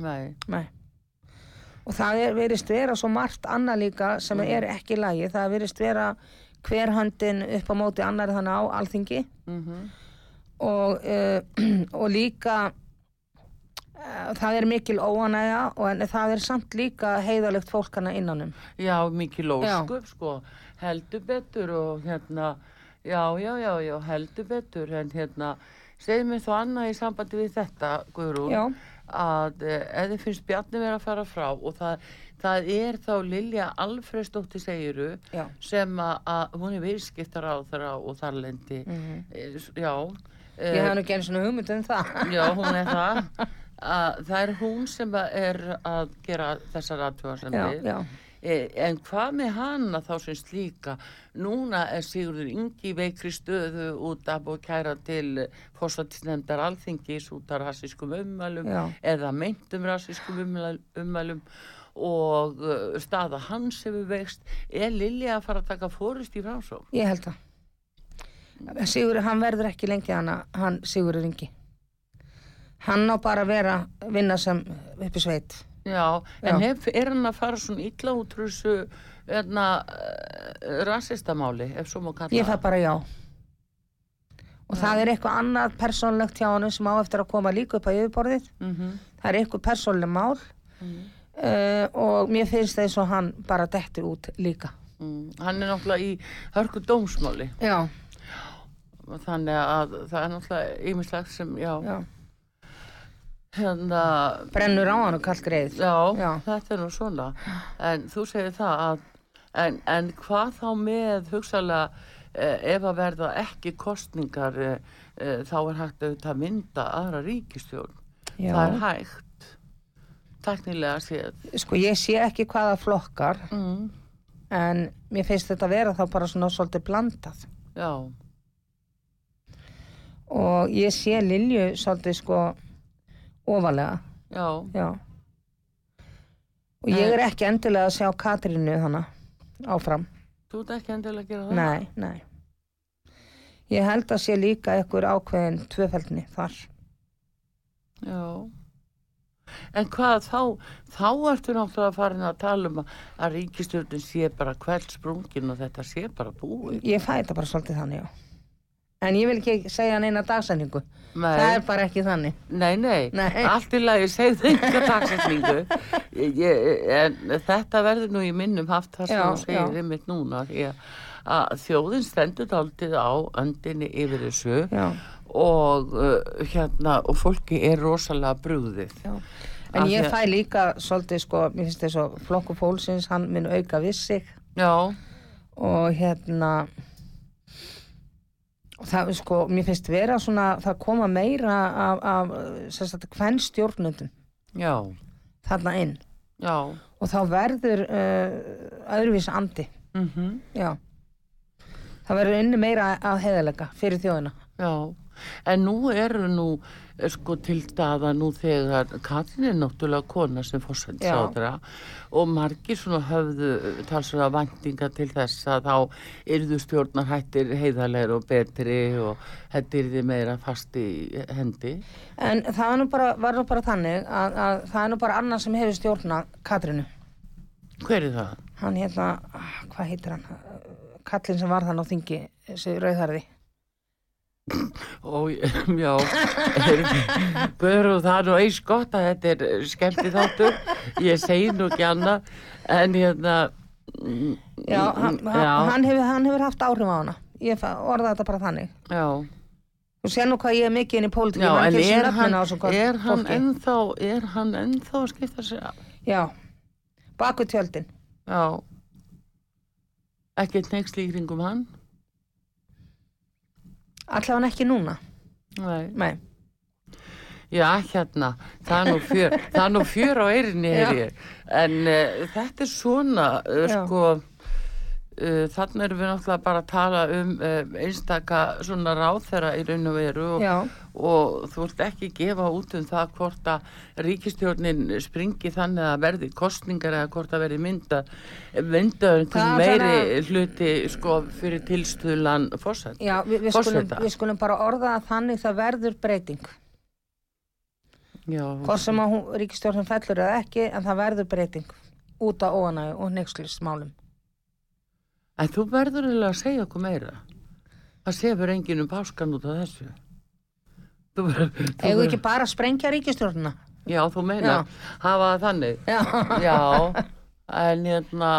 Nei,
Nei. Og það er verið vera svo margt annað líka sem er ekki í lagi. Það er verið vera hverhöndin upp á móti annari þannig á alþingi
mhm,
og, uh, *clears throat* og líka uh, það er mikil óanægja og en það er samt líka heiðalegt fólkana innanum.
já, mikið
Já.
lóskup, sko, heldur betur og hérna, já, já, já, já, heldur betur, en hérna, segðu mér þá annað í sambandi við þetta, Guðrún,
Já.
að eh, ef þið finnst Bjarni vera að fara frá og það, það er þá Lilja Alfreðsdóttir segiru
Já.
sem að, að hún er viðskiptar á þeirra og þarlendi, mm já, eh,
Mhm. Ég hef nú ekki einu svona hugmynd um það.
Já, hún
*laughs*
er það. Að, það er hún sem að er að gera þessar
Já,
aðtöðasemni.
já.
E, En hvað með hana þá sem slíka? Núna er Sigurður Ingi í veikri stöðu út af og kæra til fórsvatisnefndar alþingis út af rasískum ummælum
Já.
eða meintum rasískum ummæl- ummælum og uh, staða hans hefur veikst. Er Lilja að fara að taka fórist í framsókn?
Ég held það. Sigur, hann verður ekki lengi hana, hann Sigurður Ingi. Hann á bara að vera að vinna sem uppi sveit.
Já, en
Já.
hef, er hann að fara svona illa útrúsu hérna, uh, rasistamáli, ef svo má kalla
Ég fæ bara já. Og það er eitthvað annað persónlegt hjá hann sem á eftir að koma líka upp á yfirborðið.
Mm
Það er eitthvað persónleg mál uh, og mér finnst það eins og hann bara dettur út líka.
mm, Hann er náttúrulega í hörku dómsmáli,
Já,
þannig að það er náttúrulega ýmislegt sem, já,
já.
hérna,
Brennur á hann og kallt greið.
já,
Já.
þetta er nú svona. En þú segir það að, en, en hvað þá með hugsalega eh, ef að verða ekki kostningar, eh, eh, þá er hægt auðvitað að mynda aðra ríkistjórn.
Já.
Það er hægt, teknilega séð.
Sko, ég sé ekki hvaða flokkar
Mm,
en mér finnst þetta vera þá bara svona svolítið blandað
já,
og ég sé Lilju svolítið sko ofalega,
já,
já
Eh.
og ég er ekki endilega að sjá Katrínu hana áfram,
þú ert ekki endilega að gera það?
nei, nei ég held að sé líka einhver ákveðin tvöfældni þar
Já, en hvað þá, þá ertu náttúrulega farin að tala um að- að ríkistjórnum sé bara hvert sprungin og þetta sé bara búið.
Ég fæ þetta bara svolítið þannig, já. En ég vil ekki segja neina dagsendingu. Það
Nei,
er bara ekki þannig.
nei, nei,
Nei.
allt í lagi segðu enga dagsetningu, Ég- ég- en þetta verður nú í minnum haft það sem
Já,
þú segir
já.
einmitt núna, því að- að þjóðin stendur daldið á öndinni yfir þessu
Já,
og uh, hérna, og fólki er rosalega brúðið.
já. En
Af því
ég
að-
fæ líka svolítið, sko, mér finnst þess að flokku fólksins, hann minn auka við sig
Já,
og hérna og það, sko, mér finnst vera svona, það koma meira af, af sem sagt, hvern stjórnundum
já,
þarna inn
já,
og þá verður uh, öðruvís andi,
mhm.
já. Það verður inni meira að heiðalega fyrir þjóðina.
Já, en nú eru nú eh, sko til staða nú þegar Katrin er náttúrulega kona sem fórsættisáðra og margir svona höfðu talsvega vendinga til þess að þá yrðu stjórnar hættir heiðarlegar og betri og þetta yrði meira fast í hendi.
En það er nú bara, var nú bara þannig að, að það er nú bara annar sem hefur stjórnað Katrinu.
Hver er það?
Hann hérna, hvað heitir hann? Kallinn sem var þann á þingi, þessi rauðharði.
Ó, já, börðu það er nú eins gott að þetta er eh, skemmti þáttur, ég segi nú ekki annað, en hérna, mm,
Já, hann,
Já.
hann, hefur, hann hefur haft áhrif á hana. Ég fa- orða þetta bara þannig.
já.
Þú sér nú hvað ég er mikið inn í pólitík.
Já, en er hann, er, hann
en...
ennþá, er hann ennþá að skipta sér af?
Já, baku tjöldin.
Já. Ekki neiksli í kringum hann?
Allavega hann ekki núna.
Nei.
Nei.
Já, hérna, það er nú fjör, *laughs* það er nú fjör á eirinni,
Já.
heyr ég. En uh, þetta er svona, uh,
Já.
sko, uh, þannig erum við náttúrulega bara að tala um uh, einstaka svona ráþera í raun og veru og,
Já,
og þú vilt ekki gefa út um það hvort að ríkistjórnin springi þannig að verði kostningar eða hvort að verði mynda mynda einhvern
Það er
meiri hluti sko fyrir tilstuðlan fórsætt.
já við, við, skulum,
Forseta.
við skulum bara orða það þannig það verður breyting.
Já,
Hvort sem að hún, ríkistjórnum fellur eða ekki, en það verður breyting út á óanæg og nexlismálum.
en þú verður eiginlega að segja okkur meira. Það sefur enginn um páskan út af þessu. Þú verður, þú
Eigum við
verður,
ekki bara að sprengja ríkistjórnuna?
já, þú meina,
Já.
hafa það þannig.
Já.
Já, en hérna,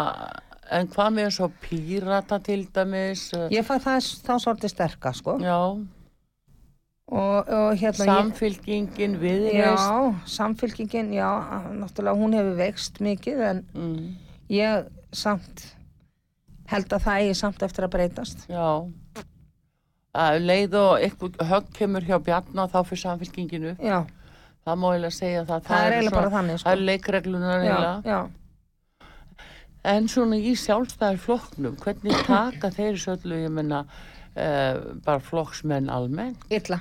en hvað með svo pírata til dæmis?
*laughs* Ég fæ það þá svolítið sterka, sko.
Já,
Og, og hérna... ég-
Samfylkingin við reist
Já, samfylkingin, já, náttúrulega hún hefur veikst mikið, en
mm,
ég samt held að það eigi samt eftir að breytast.
Já Að um leið og eitthvað högg kemur hjá Bjarna þá fyrir samfylkinginu
Já,
það má eiginlega segja það
það er
eru
eiginlega bara þannig,
það
sko.
er leikreglunar
Já,
eiginlega
já.
en svona í sjálfstæðar flokknum hvernig taka þeir þessu öllu ég menna uh, bara flokksmenn almennt
Illa.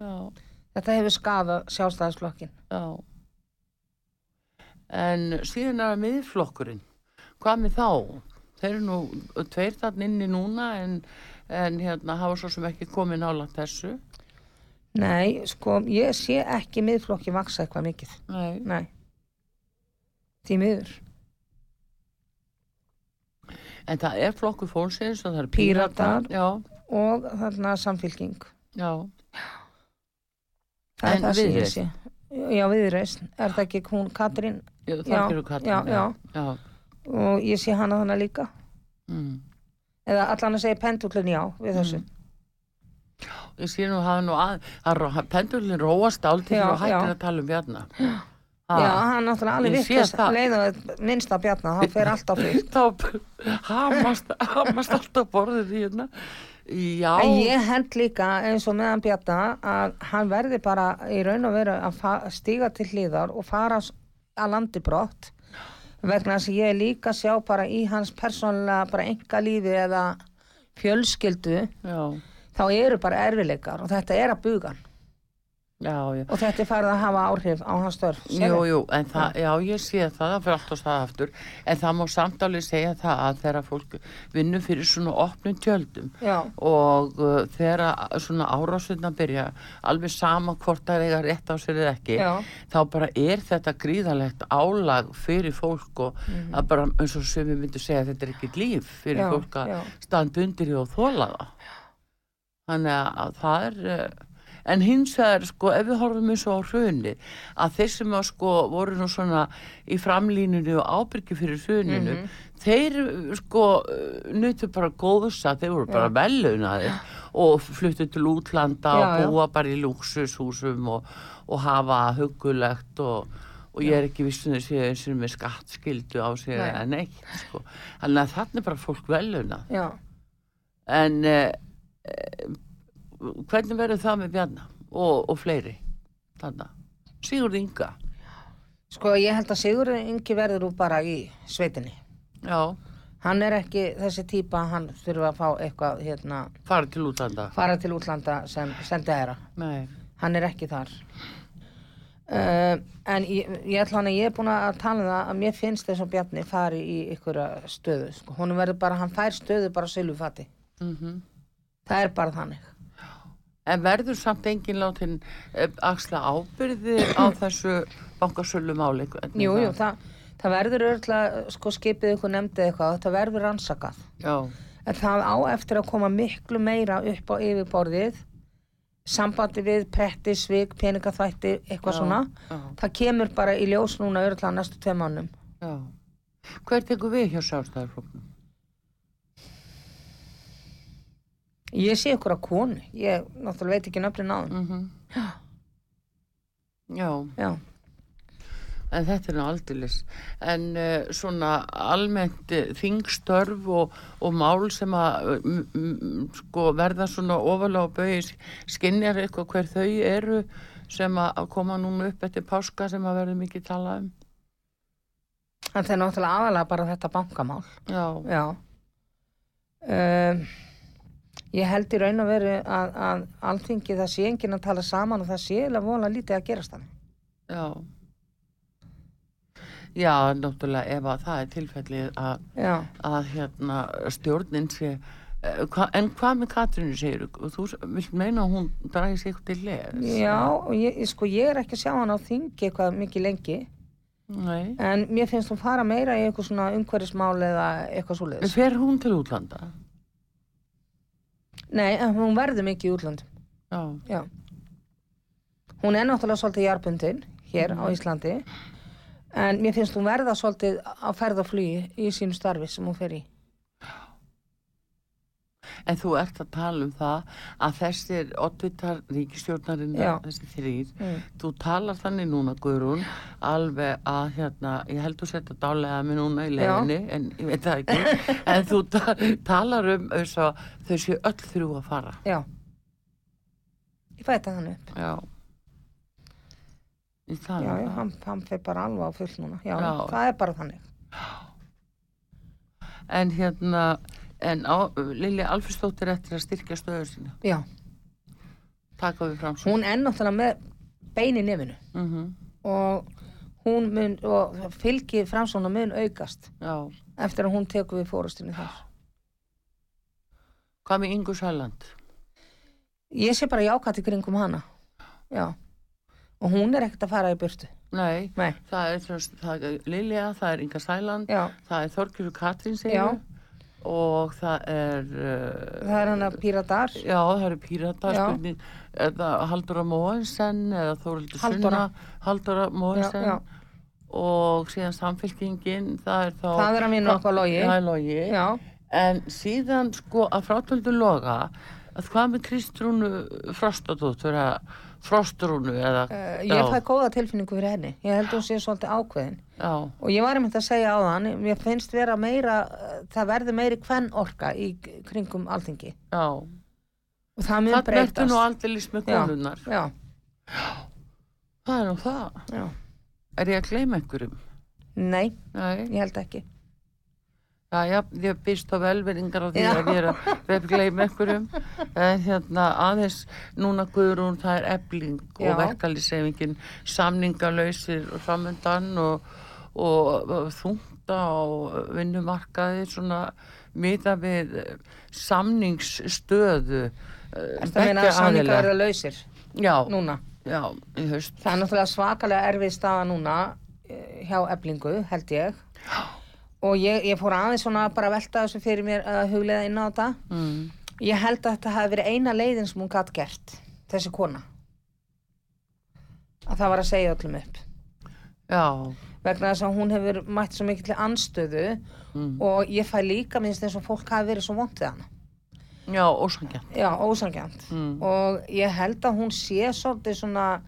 já,
Þetta hefur skafað sjálfstæðisflokkin.
já en síðan er að miðflokkurinn hvað með þá? Þeir eru nú tveir þarna inni núna en, en hérna hafa svo sem ekki komið nála þessu
Nei, sko, ég sé ekki miðflokki vaksa eitthvað mikið.
Nei.
Nei. Því miður.
En það er flokkur fólksins og það er
Píratar.
píratar. Já,
Og þarna samfylking.
já.
Það
En
er það sem ég
Viðreisn?
sé. Já, viðreist. Er það ekki hún Katrín?
Já, Það
Já,
gerur kallið.
já, já.
Já.
Og ég sé hana þannig líka.
Mm.
Eða allan að segja pendullin já við þessu.
Ég sé nú hafa nú að, að, að pendulin róast áltíð
Já,
og hættir
já.
að tala um bjarna.
Já, hann náttúrulega alveg
Ég sé
virkast
það.
leið og minnst að bjarna, hann fer allt á fyrir.
*laughs* Þá hamast, hamast alltaf borðið í hérna. Já.
En ég held líka eins og meðan bjarna að hann verði bara í raun og veru að fa- stíga til hliðar og fara s- að landi brott vegna þess að ég líka sjá bara í hans persónlega bara enga lífi eða fjölskyldu
Já.
þá eru bara erfileikar og þetta er að buga hann.
já, já.
og þetta er farið að hafa áhrif á hans störf sérðu?
Jú, jú, en það, já, ég sé það, það fyrir allt á stað aftur, en það má samtalið segja það að þegar fólk vinnur fyrir svona opnum tjöldum
Já.
og uh, þegar að svona árásunna byrja, alveg sama hvort það eiga rétt á sér eða ekki,
Já.
þá bara er þetta gríðalegt álag fyrir fólk og að bara, eins og sömu myndu segja, þetta er ekkit líf fyrir
Mhm. Já,
fólk að
já.
standa undir því og þóla það. Þannig að- að það er... Uh, En hins vegar, sko, ef við horfum eins og á hrunið, að þeir sem að sko voru nú svona í framlínunni og ábyrgi fyrir hruninu,
Mhm.
þeir sko nutu bara góðsa, þeir voru bara velunaðir og fluttu til útlanda
Já, já.
og búa bara í lúksushúsum og, og hafa hugulegt og, og ég er ekki um vissun þessi eins og með skattskildu á sig
Nei.
eða neitt, sko. Þannig að þarna er bara fólk velunað.
Já.
En uh, hvernig verður það með Bjarna og, og fleiri? Þannig. Sigurð Inga.
Sko ég held að Sigur Ingi verður úr bara í sveitinni.
Já,
Hann er ekki þessi típa, hann þurfi að fá eitthvað, hérna,
fara til útlanda.
fara til útlanda sem sendi þeirra.
Nei.
Hann er ekki þar. Uh, en ég, ég ætla hann að ég er búin að tala um það að mér finnst þess að Bjarni fari í ykkur stöðu. Sko. Hún verður bara, hann fær stöðu bara sylufati.
Mm
Það er bara þannig.
En verður samt enginn látin eh, axla ábyrði á þessu bankasölu máli?
Jú, jú, það, það verður örgulega, sko skipið ykkur nefndið eitthvað, þetta verður rannsakað.
Já,
en það á eftir að koma miklu meira upp á yfirborðið sambandi við pretti, svik, peningaþvætti eitthvað
Já,
svona
já.
það kemur bara í ljós núna örgulega næstu tvei mannum
já. Hver tekur við hjá sjálfstæðarfloknum?
ég sé ykkur að konu, ég náttúrulega veit ekki nöfnin á þeim
Mm Já.
já,
En þetta er nú aldilis. En uh, svona almennt eh, þingstörf og, og mál sem að eh, m- m- sko, verða svona ofalega á bauði skinjar eitthvað hver þau eru sem að að koma núna upp eftir páska sem að verður mikið talað um.
en það er náttúrulega aðalega bara þetta bankamál
Já,
já um, ég held í raun og veru að, að alþingi það sé enginn að tala saman og það sé eða vola lítið að gerast þannig
já. Já, náttúrulega ef að það er tilfellið að,
já,
að hérna stjórnin sé eh, hva, en hvað með Katrínu segir þú s- vilt meina að hún dragi sig eitthvað til leðs
já og ég, ég- sko ég er ekki að sjá hann á þingi eitthvað mikið lengi
Nei.
En mér finnst hún fara meira í eitthvað svona umhverfismál eða eitthvað svo leiðis.
Fer hún til útlanda?
Nei, en hún verður mikið í útlandum.
Já,
Já. Hún er náttúrulega svolítið jarbundin hér á Íslandi. En mér finnst hún verða svolítið að ferða flugi í sínu starfi sem hún fer í.
en þú ert að tala um það að þessir oddvitar ríkistjórnarinn,
Já.
þessi þrýr,
Mm.
þú talar þannig núna, Guðrún, alveg að hérna, ég held þú setja dálega með núna í leiðinni, en ég veit það
*laughs*
ekki, en þú ta talar um þess að þau séu öll þrjú að fara.
Já. Ég fæta hann upp.
Já. Ég
Já,
tala
já,
um það.
hann, hann fer bara alveg á full núna. Já,
Já.
það er bara þannig.
En hérna, en á, Lilja Alfristóttir eftir að styrkja stöðu sína,
Já.
taka við fram svo.
Hún er náttúrulega með bein í nefinu.
Mm
Og hún mun, og fylgi framsóna mun aukast
Já.
eftir að hún tekur við fórustinu þar.
Hvað með Ingu Sæland?
Ég sé bara jákvætt í kringum hana. Já. Og hún er ekkert að fara í burtu.
Nei.
Nei.
Það er, þess- það er Lilja, það er Inga Sæland,
Já.
það er Þorgjörður Katrín
Já.
segir og það er, uh,
Það er hann að píratar.
já það eru pírata,
Já.
spurning, eða Halldóra Móensen eða Þórildur Sunna,
Halldóra.
Halldóra
Já, já.
Móensen og síðan samfélkingin, það er þá,
Það er að vinna okkar logi.
það er logi,
Já.
en síðan sko að frátöldu loga, að hvað með Kristrúnu Frostadóttur eða Frostrúnu eða,
Uh,
já,
ég fæ góða tilfinningu fyrir henni. Ég held hún sé svolítið ákveðin.
já,
Og ég var einmitt að segja á þann, mér finnst vera meira, eh, það verði meiri hvern orka í k- kringum alþingi.
já.
Og það mun
Það
breytast.
mertu nú aldrei líst með
Já.
konunar.
Já,
Það er nú það.
já.
Er ég að gleyma einhverjum?
Nei,
Nei.
ég held ekki.
Já, já, ég býst á velveringar á því að vera webgleim einhverjum en hérna aðeins núna guðrún það er ebling
Já.
og verkalýsefingin samningalöysir framöndan og, og, og þungta á vinnumarkaði svona miða við eh, samningsstöðu eh,
Ertu að meina að samninga
aðila.
verða lausir
Já,
núna?
já, í haust
Það er náttúrulega svakalega erfið staða núna eh, hjá eblingu, held ég. Og ég, ég fór aðeins svona bara að velta þessu fyrir mér að huglega inn á þetta.
mm.
Ég held að þetta hafi verið eina leiðin sem hún gatt gert, þessi kona. Að það var að segja öllum upp.
Já,
Vegna þess að hún hefur mætt svo mikill anstöðu
Mm.
og ég fæ líka minnst eins og fólk hafi verið svo vond við hana.
já, ósangja
Já, ósangjönd.
mm.
og ég held að hún sé svolítið svona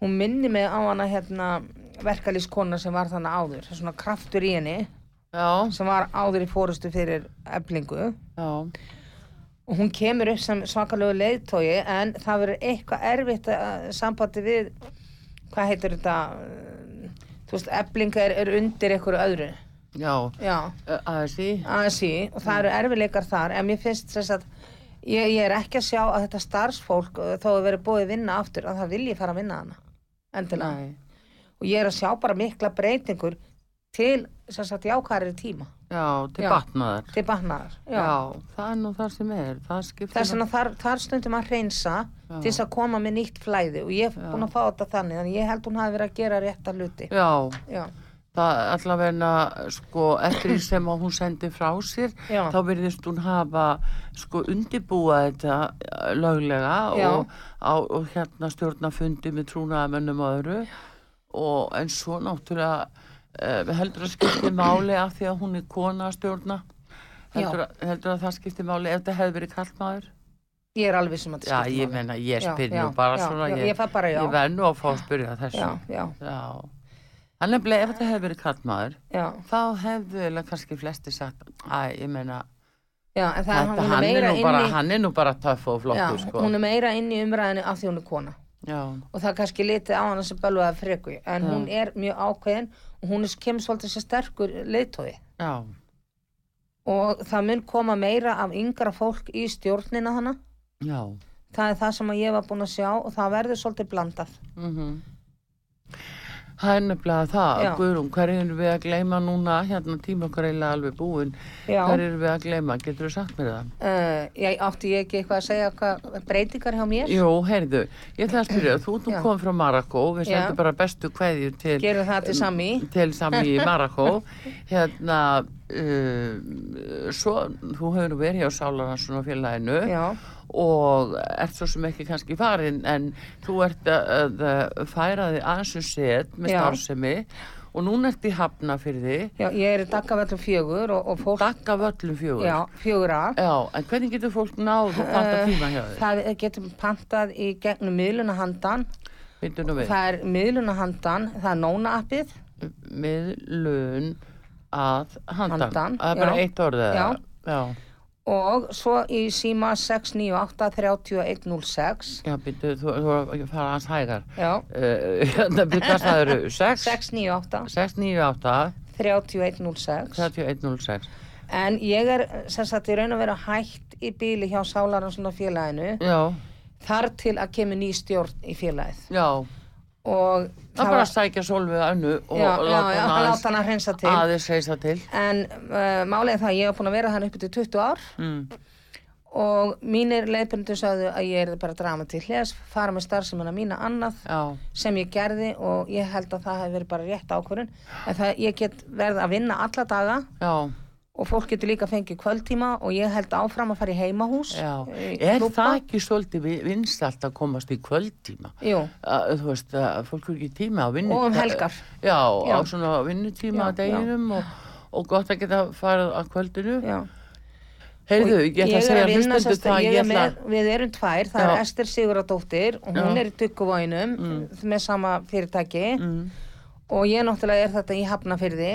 hún minni mig á hana hérna verkalýskona sem var þannig áður það er svona kraftur í henni
Já,
sem var áður í fórustu fyrir eblingu
já
og hún kemur upp sem svakalegu leiðtói en það verður eitthvað erfitt að sambandi við hvað heitir þetta eh, þú veist, eblinga er, er undir einhverju öðru
Já,
já,
ASI,
ASI og það eru erfileikar þar en mér finnst þess að ég, ég er ekki að sjá að þetta starfsfólk uh, þó að verið búið að vinna aftur að það vilji fara að vinna hana endilega
nei,
og ég er að sjá bara mikla breytingur til sem sagt jákæri tíma
já, til
Já.
batnaðar.
til bannaðar
Já. það er nú það sem er, það skiptir.
þess vegna þar, þar stundum að reynsa
Já.
til þess að koma með nýtt flæði og ég er
Já.
búin að fá þetta þannig þannig ég held hún hafi verið að gera rétta hluti
Já,
já,
það allavegna, sko, eftir því sem að hún sendi frá sér,
já,
þá verðist hún hafa, sko, undibúa þetta eh, löglega
Já.
og, á, og hérna stjórnafundi með trúnaðamönnum og öðru. Og en svo náttúrulega eh, heldur að skipti máli af því að hún er kona að stjórna.
Já.
Heldur, að, heldur að það skipti máli ef þetta hefði verið kallmaður?
ég er alveg sem að
Já, ég
máli.
menna, ég
Já,
spyr
já,
nú bara
já,
svona,
já,
ég,
ég fer bara já.
ég verð nú að fá að spyrja þessu.
já, já,
Já. Hann er bleið, ef þetta hefði verið kallmaður,
já,
þá hefðu eða kannski flesti sagt, æ, ég menna,
já en það
þetta,
hún
hann, er
meira
nú bara,
inni-
hann er nú bara töff og
Já,
flottur, sko.
hún er meira inn í umræðinu af því hún er kona
Já,
og það er kannski litið á hana sem bölvaða freku en hún er mjög ákveðin og hún er kemur svolítið sér sterkur leiðtói
já,
og það mun koma meira af yngra fólk í stjórnina hana
já.
það er það sem að ég var búin að sjá og það verður svolítið blandað
Mm Það er nefnilega það,
Mhm. Já.
Guðrún, hver erum við að gleyma núna, hérna tíma okkar eiginlega alveg búin,
já,
hver erum við að gleyma, getur þú sagt mér það?
uh, ég átti ég ekki eitthvað að segja hvað breytingar hjá mér
Jú, heyrðu, ég ætla að spyrja, þú ert nú
Já.
kom frá Marakó, við
Já.
sendum bara bestu kveðju til,
gerum það til sami
til sami
*laughs*
í Marakó. Hérna, uh, svo, þú hefur nú verið hjá Sálarhanssona félaginu
já,
og ert svo sem ekki kannski farin, en þú ert að, að færa þig aðeins um set með
Já.
starfsemi og núna ert í hafna fyrir þig,
já, ég er í daggavellu fjögur og, og fólk
dagga völlum fjögur.
já, fjögur að
Já, en hvernig getur fólk náð og panta
Eh,
tíma hjá þig?
það getum pantað í gegnum miðlunahandan
Vindu nú við,
Það er miðlunahandan, það er nóna appið,
miðlun að handan.
Handan,
Það er bara
já.
eitt orðið.
Já.
Já,
og svo í síma 698-3106,
já býttu, þú, þú er að fara aðeins hægar.
já,
Uh, *laughs* hérna býttu að það eru 6, 698,
698-3106,
3106.
en ég er sem sagt í raun og veru hægt í bíli hjá Sálaranssona félaginu,
Já,
þar til að kemur ný stjórn í félagið
já,
og
það er bara að sækja sólfið annu og
já, já,
láta
já,
hann
láta
aðeins
hann að hreinsa til.
aðeins reysa til.
En uh, málið er það að ég hef búin að vera þannig upp til 20 ár
Mm.
og mínir leiðbundu sagðu að ég er bara drama til hljás, fara með starfsemina mína annað
Já,
sem ég gerði og ég held að það hefði verið bara rétt ákvörun en það ég get verið að vinna alla daga
já,
og fólk getur líka fengið kvöldtíma og ég held áfram að fara í heimahús
já.
í
Er
klúbba.
það ekki svolítið vi- vinsælt að komast í kvöldtíma?
Jú,
Að, þú veist, að fólk er ekki tíma á vinnu...
og um helgar
Já, á
Já.
svona vinnutíma
Já,
á deginum og, og gott að geta farið á kvöldinu.
Já.
Heyrðu,
Og
ég ætla að
er
segja
vinna,
hlustendur
sem sagt,
það,
ég
ég
er
ætla
með, Við erum tvær, það
Já.
er Ester Siguradóttir og hún
Já. Mm.
er í Dugguvóinum með sama fyrirtæki og ég náttúrulega er þetta í Hafnafyrði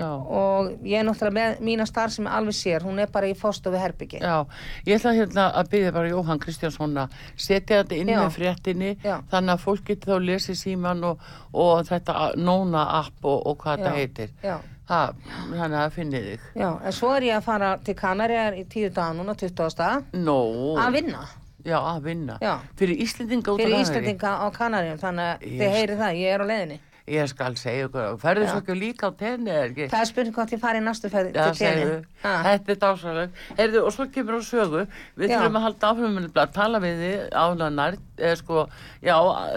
já,
og ég er náttúrulega með mína starf sem alveg sér, hún er bara í fóstofu herbyggi.
já, ég ætla hérna að byggja bara Jóhann Kristjánsson að setja þetta inn
Já.
með fréttinni
Já.
þannig að fólk getur þá lesið síman og, og þetta a- Nóna app og, og hvað þetta heitir.
Já,
ha, þannig að finni þig
Já, en svo er ég að fara til Kanarjar í tíu daga núna, 20.
Nó,
að vinna
já, að vinna
Já.
fyrir Íslendinga út á
fyrir
Kanarí.
Íslandinga á Kanarjum, þannig að
Ég-
þið heyrið það, ég er á leiðinni.
ég skal segja ykkur, ferðu svo ekki líka á tenni eða ekki
Það er spurning hvort ég fari í næstu ferð
Já,
til tenni.
segðu, þetta er dásaleg Heyrðu, og svo kemur á sögu Við
Já.
þurfum að halda áfram að tala við þið álanar eða sko, já,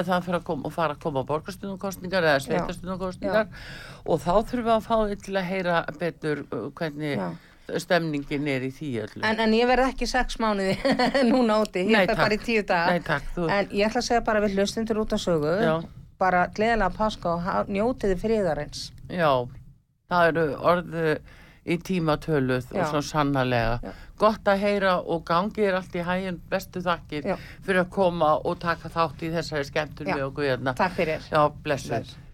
það fyrir að koma, fara að koma borgarstundumkostningar eða sveitarstundumkostningar og þá þurfum við að fá þið til að heyra betur uh, hvernig
Já.
stemningin er í því öllu
En, en ég verð ekki sex mánuði *laughs* núna úti,
Nei,
ég fer
takk.
bara í tíu daga.
Nei, takk, þú-
En ég ætla að segja bara við hlustundur út á sögu,
Já.
bara gleðilega páska og ha- njótiði fríðarins.
Já, það eru orðu í tíma töluð
Já.
og svo sannarlega.
Já.
Gott að heyra og gangi er allt í hæginn bestu þakkir
Já.
fyrir að koma og taka þátt í þessari skemmtun
Já.
við okkur hérna.
Takk fyrir.
Já, blessuð.
Bless.